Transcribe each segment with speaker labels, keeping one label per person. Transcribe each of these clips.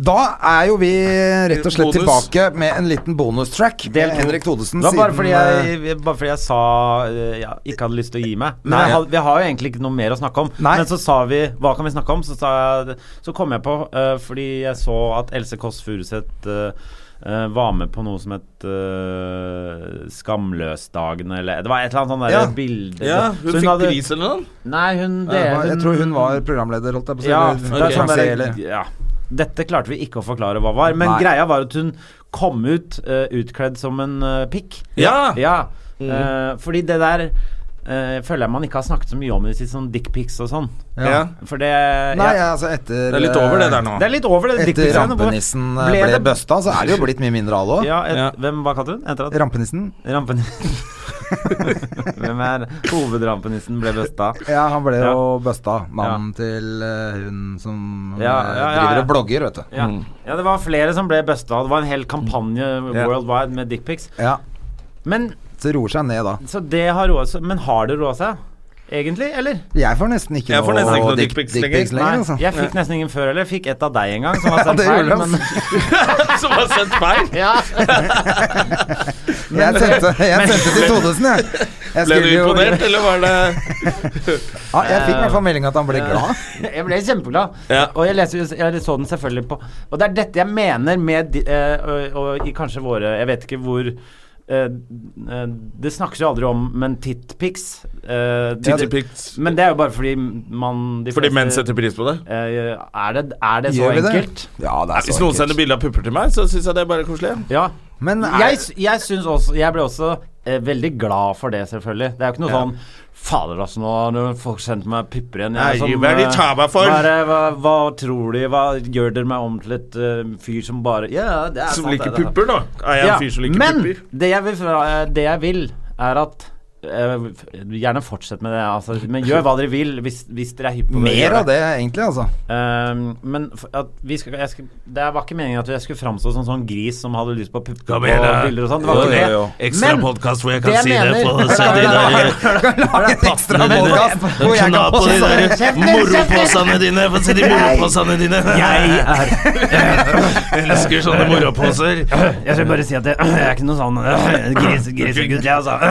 Speaker 1: Da er jo vi rett og slett
Speaker 2: Bonus.
Speaker 1: tilbake med en liten bonustrack. Med Eh, Henrik Thodesen.
Speaker 2: Det var bare
Speaker 1: siden,
Speaker 2: fordi
Speaker 1: eh,
Speaker 2: jeg, bare fordi jeg sa eh, jeg ikke hadde lyst til å gi meg. Men
Speaker 1: Nei.
Speaker 2: jeg, had- vi har jo egentlig ikke noe mer å snakke om.
Speaker 1: Nei.
Speaker 2: Men så sa vi Hva kan vi snakke om? Så, sa jeg, så kom jeg på, eh, fordi jeg så at Else Kåss Furuseth eh, eh, var med på noe som het eh, Skamløsdagene, eller Det var et eller annet sånt der
Speaker 1: Ja.
Speaker 2: bilde
Speaker 3: Ja,
Speaker 2: Så
Speaker 3: hun fikk
Speaker 2: hadde-
Speaker 3: pris eller noe?
Speaker 2: Nei, hun det,
Speaker 1: jeg, jeg tror hun eh, var programleder, holdt jeg på å si.
Speaker 2: ja,
Speaker 1: eller
Speaker 2: det er sånn
Speaker 1: konferansier,
Speaker 2: der-
Speaker 1: eller-
Speaker 2: ja. Dette klarte vi ikke å forklare hva var, men
Speaker 1: Nei.
Speaker 2: greia var at hun kom ut eh, utkledd som en eh, pikk.
Speaker 3: Ja.
Speaker 2: ja. Eh, fordi det der eh, føler jeg man ikke har snakket så mye om i det siste, sånn dickpics og sånn.
Speaker 3: Ja.
Speaker 2: For det
Speaker 1: Nei,
Speaker 2: ja.
Speaker 1: altså etter eh,
Speaker 3: Det er litt over det der nå.
Speaker 2: Eh, Det er litt over det.
Speaker 1: Etter
Speaker 2: dickpics-
Speaker 1: rampenissen eh,
Speaker 2: Ble
Speaker 1: ble
Speaker 2: det-
Speaker 1: busta, så er det jo blitt mye mindre av det òg.
Speaker 2: Ja, et,
Speaker 3: Ja.
Speaker 2: Hvem var katten? Etter at
Speaker 1: Rampenissen?
Speaker 2: rampen... hvem er hovedrampenissen ble busta?
Speaker 1: Ja, han ble
Speaker 2: Ja.
Speaker 1: jo busta. Mannen til eh, hun som eh,
Speaker 2: Ja, ja, ja,
Speaker 1: driver
Speaker 2: ja.
Speaker 1: og blogger, vet du.
Speaker 2: Ja. ja, det var flere som ble busta. Det var en hel kampanje worldwide med dickpics.
Speaker 1: Ja,
Speaker 2: Men
Speaker 1: Så roer seg ned da.
Speaker 2: Så det har roa seg. Men har det roa seg? Egentlig, eller?
Speaker 1: Jeg får nesten ikke
Speaker 3: Jeg får nesten ikke noe
Speaker 1: dick-
Speaker 3: dickpics
Speaker 1: dickpics
Speaker 3: lenger.
Speaker 1: lenger. altså.
Speaker 2: jeg fikk nesten ingen før heller. Jeg fikk et av deg en gang, som var
Speaker 1: Ja,
Speaker 2: sendt
Speaker 1: det altså.
Speaker 2: feil.
Speaker 1: gjorde han.
Speaker 2: Men,
Speaker 3: Som har sendt feil?
Speaker 2: ja.
Speaker 1: Jeg sendte, jeg sendte til Thodesen, jeg. jeg
Speaker 3: Ble du
Speaker 1: skulle jo-
Speaker 3: imponert, eller var det
Speaker 1: Ja, jeg fikk i hvert fall melding at han ble glad.
Speaker 2: jeg ble kjempeglad.
Speaker 3: Ja.
Speaker 2: Og jeg, leser, jeg så den selvfølgelig på Og det er dette jeg mener med de- eh, og, og i kanskje våre Jeg vet ikke hvor eh, eh, Det snakkes jo aldri om, men tittpics eh, det-
Speaker 3: Titterpics?
Speaker 2: Men det er jo bare fordi man de
Speaker 3: Fordi
Speaker 2: fleste-
Speaker 3: menn setter pris på det?
Speaker 2: eh, er, det, er det så
Speaker 1: Gjør vi det?
Speaker 2: enkelt?
Speaker 1: Ja, det er
Speaker 3: Hvis
Speaker 1: så
Speaker 3: noen sender
Speaker 1: enkelt.
Speaker 3: bilde av pupper til meg, så syns jeg det er bare koselig.
Speaker 2: Ja.
Speaker 1: Men er,
Speaker 2: jeg, s- jeg syns også Jeg ble også eh, veldig glad for det, selvfølgelig. Det er jo ikke noe sånn Fader, altså, nå har nå folk sendt meg pupper igjen.
Speaker 3: Nei, hva er de
Speaker 2: eh,
Speaker 3: tar meg for?
Speaker 2: Hva, er det- hva, hva tror de? Hva gjør dere meg om til et eh, fyr som bare Ja, det er
Speaker 3: Som
Speaker 2: sant,
Speaker 3: liker
Speaker 2: det er sant.
Speaker 3: pupper, da. Er jeg
Speaker 2: Ja,
Speaker 3: en fyr som liker
Speaker 2: men
Speaker 3: pupper?
Speaker 2: det jeg, vil, fra- eh, det jeg vil, er at eh, Gjerne fortsett med det, altså, men gjør hva dere vil hvis, hvis dere er hypp på det. Gjør
Speaker 1: mer av det, egentlig, altså.
Speaker 2: Ehm, men f- at vi skal, jeg skal, det var ikke meningen at jeg skulle framstå som sånn gris som hadde lyst på pupper og
Speaker 3: Kom igjen, da.
Speaker 2: bilder og sånn. Det var
Speaker 3: Jo,
Speaker 2: ikke
Speaker 3: jo, jo.
Speaker 2: det.
Speaker 3: Ekstra podcast hvor jeg kan
Speaker 2: det
Speaker 3: si det på
Speaker 2: mener-
Speaker 3: sett i dag.
Speaker 1: Lage en ekstra
Speaker 3: Men-
Speaker 1: podcast hvor jeg kan
Speaker 3: på de
Speaker 1: også
Speaker 3: der moroposene dine. Få se de moroposene dine.
Speaker 2: Jeg er
Speaker 3: elsker sånne moroposer.
Speaker 2: Jeg skal bare si at jeg, jeg er ikke noen sånn øh, gris, grisegutt, jeg, altså.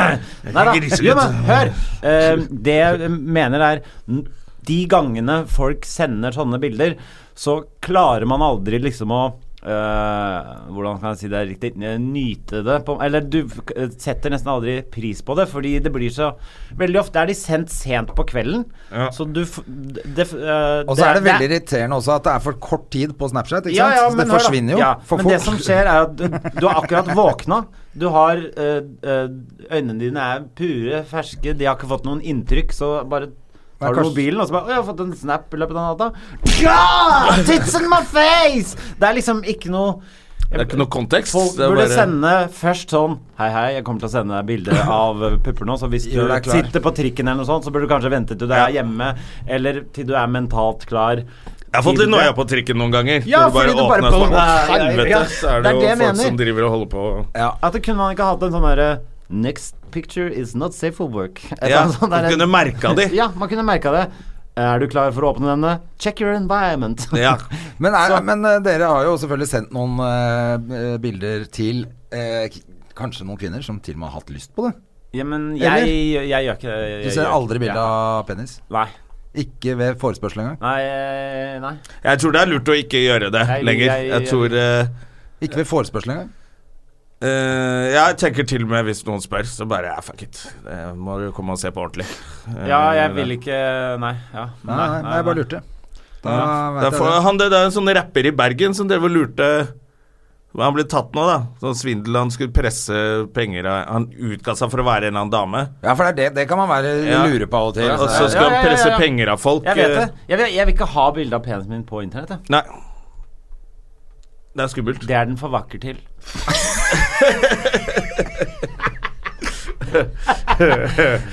Speaker 2: Øh. Nei da.
Speaker 3: Grisegutt.
Speaker 2: Jo, men hør. Ehm, det jeg mener, er n- De gangene folk sender sånne bilder, så klarer man aldri liksom å øh, hvordan kan jeg si det riktig eh, Nyte det på Eller du k- setter nesten aldri pris på det, fordi det blir så Veldig ofte er de sendt sent på kvelden,
Speaker 3: Ja.
Speaker 2: så du f- det, f- øh,
Speaker 1: Og så er det veldig irriterende også at det er for kort tid på Snapchat. Ikke sant? så det
Speaker 2: men hør da.
Speaker 1: forsvinner jo
Speaker 2: Ja,
Speaker 1: for
Speaker 2: men det
Speaker 1: fort.
Speaker 2: som skjer, er at du, du har akkurat våkna. Du har eh, eh, Øynene dine er pure, ferske, de har ikke fått noen inntrykk, så bare Tar
Speaker 1: Men
Speaker 2: du
Speaker 1: kanskje-
Speaker 2: mobilen og så bare 'Å, jeg har fått en snap i løpet av natta'. Ja! Tits in my face! Det er liksom ikke noe
Speaker 3: Det er ikke noe kontekst.
Speaker 2: Folk
Speaker 3: det er
Speaker 2: burde
Speaker 3: bare-
Speaker 2: sende først sånn Hei, hei, jeg kommer til å sende deg bilde av eh, pupper nå, så hvis du
Speaker 1: Gjør deg klar.
Speaker 2: sitter på trikken eller noe sånt, så burde du kanskje vente til du er hjemme, eller til du er mentalt klar.
Speaker 3: Jeg har fått litt noia på trikken noen ganger.
Speaker 2: Ja,
Speaker 3: Når
Speaker 2: fordi du bare
Speaker 3: åpner, så
Speaker 2: på-
Speaker 3: Å, helvete,
Speaker 2: Ja,
Speaker 3: så er
Speaker 2: det
Speaker 3: det
Speaker 2: er
Speaker 3: jo
Speaker 2: det jeg
Speaker 3: folk
Speaker 2: mener.
Speaker 3: som driver og holder på
Speaker 2: At det kunne man ikke hatt en sånn derre Next picture is not safe for work. Et
Speaker 3: Ja,
Speaker 2: eller annet sånt
Speaker 3: man
Speaker 2: sånn der-
Speaker 3: kunne merka de.
Speaker 2: Ja, man kunne merka det. Er du klar for å åpne denne? Check your environment.
Speaker 3: Ja.
Speaker 1: Men, er, men eh, dere har jo selvfølgelig sendt noen eh, bilder til eh, k- kanskje noen kvinner som til og med har hatt lyst på det.
Speaker 2: ja men
Speaker 1: Eller?
Speaker 2: jeg, jeg, gjør ikke det.
Speaker 1: Du ser aldri bilde av penis.
Speaker 2: Nei.
Speaker 1: Ikke ved forespørsel engang.
Speaker 2: Nei, eh, nei.
Speaker 3: Jeg tror det er lurt å ikke gjøre det
Speaker 2: Jeg-
Speaker 3: lenger.
Speaker 2: jeg-
Speaker 3: Jeg tror eh,
Speaker 1: Ikke ved forespørsel engang.
Speaker 3: eh, Jeg tenker til og med hvis noen spør, så bare ja, fuck it. Det må du komme og se på ordentlig. Eh,
Speaker 2: Ja, jeg vil ikke Nei. Ja.
Speaker 1: Nei, nei, nei, jeg bare lurte. Da
Speaker 3: Det
Speaker 1: vet
Speaker 3: er,
Speaker 1: jeg
Speaker 3: for,
Speaker 1: det.
Speaker 3: han, det, det er en sånn rapper i Bergen som drev og lurte Han ble tatt nå, da. Sånn svindel. Han skulle presse penger av Han utga seg for å være en eller annen dame.
Speaker 1: Ja, for det, er det, det kan man være
Speaker 3: Ja.
Speaker 1: lure på av og til.
Speaker 3: Og
Speaker 1: altså.
Speaker 3: så skal
Speaker 2: Ja, ja, ja,
Speaker 3: han presse
Speaker 2: ja.
Speaker 3: penger av folk.
Speaker 2: Jeg vet
Speaker 3: eh,
Speaker 2: det. Jeg vil, jeg vil ikke ha bilde av penisen min på internett. Jeg.
Speaker 3: Nei. Det er skummelt.
Speaker 2: Det er den for vakker til.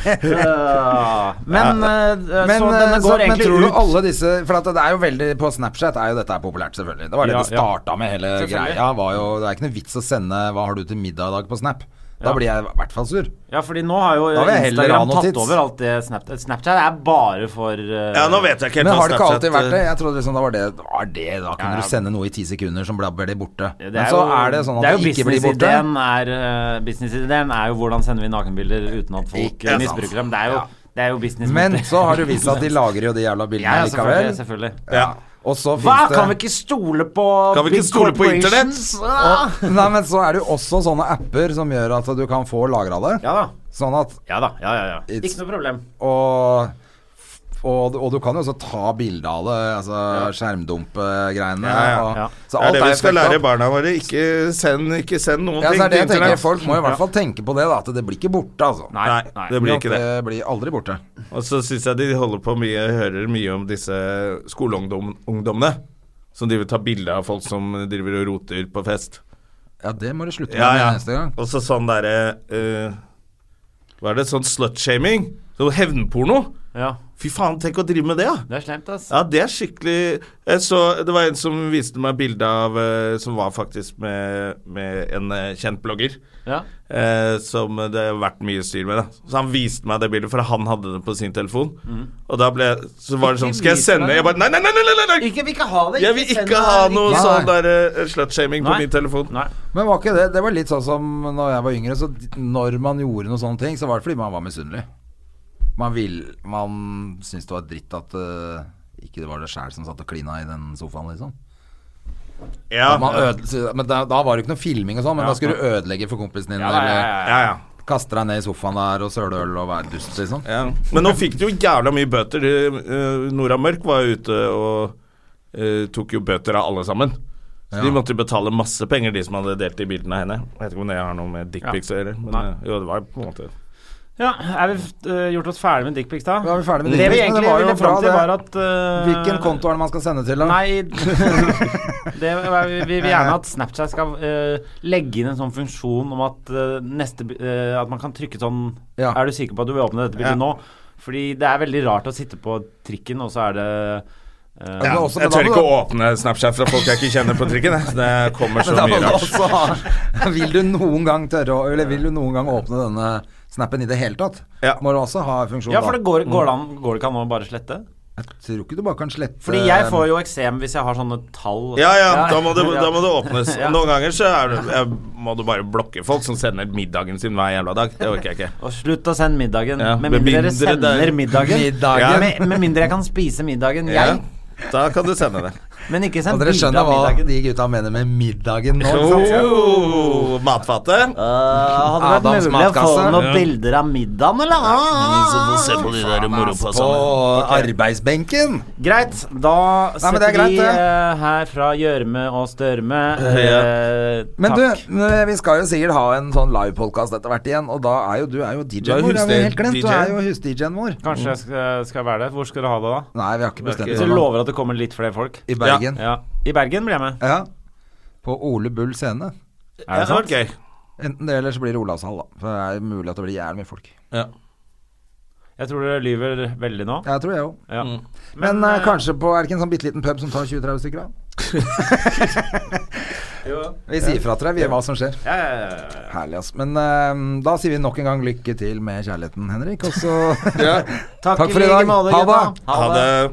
Speaker 2: Ah, men, eh,
Speaker 1: Men,
Speaker 2: så denne
Speaker 1: eh, så,
Speaker 2: går
Speaker 1: men
Speaker 2: egentlig
Speaker 1: tror du
Speaker 2: ut
Speaker 1: alle disse For at det er jo veldig På Snapchat er jo dette her populært, selvfølgelig. Det var det
Speaker 2: Ja,
Speaker 1: det starta med hele
Speaker 2: Selvfølgelig.
Speaker 1: greia. Var jo, det er ikke noe vits å sende 'Hva har du til middag i dag?' på Snap. Da
Speaker 2: Ja.
Speaker 1: blir jeg i hvert fall sur.
Speaker 2: Ja, fordi nå har jo
Speaker 1: Da vil jeg heller ha
Speaker 2: Instagram
Speaker 1: noe
Speaker 2: tatt
Speaker 1: tids.
Speaker 2: over alt det Snapchat Snapchat er bare for eh,
Speaker 3: Ja, nå vet jeg ikke helt
Speaker 1: Men
Speaker 3: hva
Speaker 1: har det ikke
Speaker 3: Snapchat,
Speaker 1: alltid vært det?
Speaker 3: eh,
Speaker 1: Jeg trodde liksom da var det, var det Da
Speaker 2: ja.
Speaker 1: kunne du sende noe i ti sekunder som ble, ble borte.
Speaker 2: det
Speaker 1: Men så er det sånn
Speaker 2: det,
Speaker 1: at det,
Speaker 2: er jo
Speaker 1: ikke blir borte.
Speaker 2: businessideen er, eh, businessideen er jo hvordan sender vi nakenbilder uten at folk
Speaker 1: Ikke sant.
Speaker 2: misbruker dem. Det er jo, det er jo business.
Speaker 1: Men så har det vist seg at de lager jo de jævla bildene
Speaker 2: ja, ja,
Speaker 1: likevel.
Speaker 2: selvfølgelig, selvfølgelig.
Speaker 3: eh, Ja.
Speaker 1: Og så
Speaker 2: Hva?
Speaker 1: finnes det
Speaker 2: Kan vi ikke stole på
Speaker 3: Kan vi
Speaker 2: big
Speaker 3: ikke stole på internett?
Speaker 2: corporations?
Speaker 1: og, Nei, men så er det jo også sånne apper som gjør at du kan få lagra det.
Speaker 2: Ja da.
Speaker 1: Sånn at
Speaker 2: Ja da. Ja, ja, ja.
Speaker 1: It's-
Speaker 2: Ikke noe problem.
Speaker 1: og, og, og du kan jo også ta bilde av det, altså skjermdumpe-greiene.
Speaker 3: Ja, ja,
Speaker 1: og-
Speaker 2: ja.
Speaker 1: Så
Speaker 3: Det er
Speaker 1: alt
Speaker 3: det vi skal
Speaker 1: fucked up.
Speaker 3: lære barna våre. Ikke send, ikke send noen
Speaker 1: Ja, så
Speaker 3: ting
Speaker 1: er det
Speaker 3: til
Speaker 1: jeg tenker.
Speaker 3: internett.
Speaker 1: Folk må i hvert fall tenke på det, da. At det blir ikke borte, altså.
Speaker 2: Nei.
Speaker 3: Nei,
Speaker 2: Nei.
Speaker 3: det blir ikke det.
Speaker 1: Det blir aldri borte.
Speaker 3: Og så syns jeg de holder på mye, hører mye om disse skoleungdommene. Som driver og tar bilde av folk som driver og roter på fest.
Speaker 1: Ja, det må du slutte med
Speaker 3: Ja, ja.
Speaker 1: neste gang.
Speaker 3: Og så sånn derre eh, Hva er det? Sånn slutshaming? Sånn hevnporno?
Speaker 2: Ja.
Speaker 3: Fy faen, tenk å drive med det, ja!
Speaker 2: Det er slemt, ass.
Speaker 3: Ja, det er skikkelig Jeg så Det var en som viste meg bilde av eh, Som var faktisk med, med en eh, kjent blogger.
Speaker 2: Ja.
Speaker 3: Eh, som det har vært mye styr med. Da. Så han viste meg det bildet, for han hadde det på sin telefon. Og da ble Så var det sånn Skal
Speaker 2: Mm. Ikke vis meg
Speaker 3: jeg sende
Speaker 2: det.
Speaker 3: Jeg bare Nei, nei, nei! nei, nei, nei.
Speaker 2: Ikke, vi ikke ha det.
Speaker 3: Jeg vil
Speaker 2: send
Speaker 3: ikke ha
Speaker 2: det.
Speaker 3: noe
Speaker 1: Nei.
Speaker 3: sånn der eh, slutshaming på
Speaker 2: Nei.
Speaker 3: min telefon.
Speaker 2: Nei.
Speaker 1: Men var ikke det Det var litt sånn som når jeg var yngre, så d- når man gjorde noen sånne ting, så var det fordi man var misunnelig. Man vil Man syntes det var dritt at eh, ikke det var det sjæl som satt og klina i den sofaen, liksom.
Speaker 3: Ja,
Speaker 1: Man øde, men da, da var det ikke noe filming og sånn, men da skulle du ødelegge for kompisen din,
Speaker 2: Ja, ja, ja, ja.
Speaker 3: ja, ja.
Speaker 1: eller kaste deg ned i sofaen der og søle øl og være dust, liksom.
Speaker 3: Ja. Men nå fikk de jo jævla mye bøter. De, eh, Nora Mørk var jo ute og eh, tok jo bøter av alle sammen. Så De
Speaker 1: Ja.
Speaker 3: måtte jo betale masse penger, de som hadde delt de bildene av henne. Jeg vet ikke om det har noe med dickpics å gjøre. Men
Speaker 2: Nei.
Speaker 3: eh, jo, det var på en måte
Speaker 2: Ja, er vi eh, gjort oss ferdig med dickpics, da?
Speaker 1: Da er vi ferdig med
Speaker 2: det vi
Speaker 1: dickpics, men det
Speaker 2: egentlig
Speaker 1: var jo
Speaker 2: ville fram
Speaker 1: bra,
Speaker 2: til,
Speaker 1: det.
Speaker 2: var at eh,
Speaker 1: Hvilken konto er det man skal sende til, da?
Speaker 2: Nei det, var- Vi vi vil gjerne at Snapchat skal eh, legge inn en sånn funksjon om at eh, neste bi- eh, At man kan trykke sånn
Speaker 1: Ja.
Speaker 2: Er du sikker på at du vil åpne dette bildet nå? Fordi det er veldig rart å sitte på trikken, og så er det eh,
Speaker 1: Ja,
Speaker 3: ja,
Speaker 1: men også-
Speaker 3: Jeg
Speaker 1: men da
Speaker 3: tør
Speaker 1: må
Speaker 3: ikke
Speaker 1: du-
Speaker 3: å åpne Snapchat fra folk jeg ikke kjenner på trikken. jeg. Det kommer så
Speaker 1: Da må
Speaker 3: mye
Speaker 1: du
Speaker 3: rart.
Speaker 1: også ha Vil du noen gang tørre å Eller vil du noen gang åpne denne snappen i det hele tatt?
Speaker 3: Ja.
Speaker 1: Må du også ha funksjon
Speaker 2: Ja, for det
Speaker 1: da?
Speaker 2: går, går, det an, går det ikke an å bare slette?
Speaker 1: Jeg tror ikke du bare kan slette
Speaker 2: Fordi jeg får jo eksem hvis jeg har sånne tall.
Speaker 3: Eh, Ja, ja, da må det, da må det åpnes.
Speaker 2: Ja.
Speaker 3: Noen ganger så er det, jeg, må du bare blokke folk som sender middagen sin hver jævla dag. Det orker jeg ikke.
Speaker 2: Og slutt å sende middagen.
Speaker 3: Ja,
Speaker 2: Med mindre dere
Speaker 3: med mindre
Speaker 2: sender
Speaker 3: det-
Speaker 2: middagen.
Speaker 1: Middagen.
Speaker 2: Ja, Med, med mindre jeg kan spise middagen,
Speaker 3: Ja,
Speaker 2: jeg.
Speaker 3: da kan du sende det.
Speaker 2: Men ikke send
Speaker 1: Og dere
Speaker 2: bilde
Speaker 1: skjønner
Speaker 2: av
Speaker 1: hva
Speaker 2: middagen.
Speaker 1: de gutta mener med middagen nå? ikke sant?
Speaker 3: Oh, matfatet.
Speaker 2: Øh, hadde det
Speaker 1: Adams
Speaker 2: vært mulig å få
Speaker 1: matkasse.
Speaker 2: noen
Speaker 3: Ja.
Speaker 2: bilder av middagen, eller?
Speaker 3: de der
Speaker 2: Sånn,
Speaker 1: På arbeidsbenken!
Speaker 2: Greit, da
Speaker 1: men det
Speaker 2: setter
Speaker 1: er greit,
Speaker 2: vi
Speaker 1: det.
Speaker 2: eh, her fra gjørme og størme.
Speaker 3: Ja.
Speaker 2: Eh,
Speaker 1: Men
Speaker 2: takk.
Speaker 1: du, vi skal jo sikkert ha en sånn livepodkast etter hvert igjen, og da er jo du er jo
Speaker 3: Du er
Speaker 1: DJ-en vår. Det har vi helt glemt. Du
Speaker 3: hus-DJ.
Speaker 1: er jo hus-DJ-en vår.
Speaker 2: Kanskje jeg skal, eh, skal være der. Hvor skal du ha det, da?
Speaker 1: Nei, vi har ikke bestemt
Speaker 2: Hvis
Speaker 1: det
Speaker 2: du
Speaker 1: nå.
Speaker 2: lover at det kommer litt flere folk?
Speaker 1: I Bergen.
Speaker 2: Ja. I Bergen blir jeg med.
Speaker 1: Ja. På Ole Bull scene.
Speaker 2: Er det sant?
Speaker 3: gøy.
Speaker 1: Enten det, eller så blir det Olavshall, da. For det er mulig at det blir jævlig mye folk.
Speaker 3: Ja.
Speaker 2: Jeg tror dere lyver veldig nå.
Speaker 1: Jeg tror jeg òg.
Speaker 2: Ja.
Speaker 3: Mm.
Speaker 1: Men, eh, kanskje på Er det ikke en sånn bitte liten pub som tar 20-30 stykker av? Vi sier fra til deg, vi, hva som skjer.
Speaker 2: Ja, ja, ja, ja.
Speaker 1: Herlig, ass. Men eh, da sier vi nok en gang lykke til med kjærligheten, Henrik. Og så
Speaker 2: Takk,
Speaker 1: Takk for i
Speaker 2: like
Speaker 1: dag.
Speaker 2: måte,
Speaker 1: Ha
Speaker 2: gutta.
Speaker 1: det.
Speaker 3: Ha det.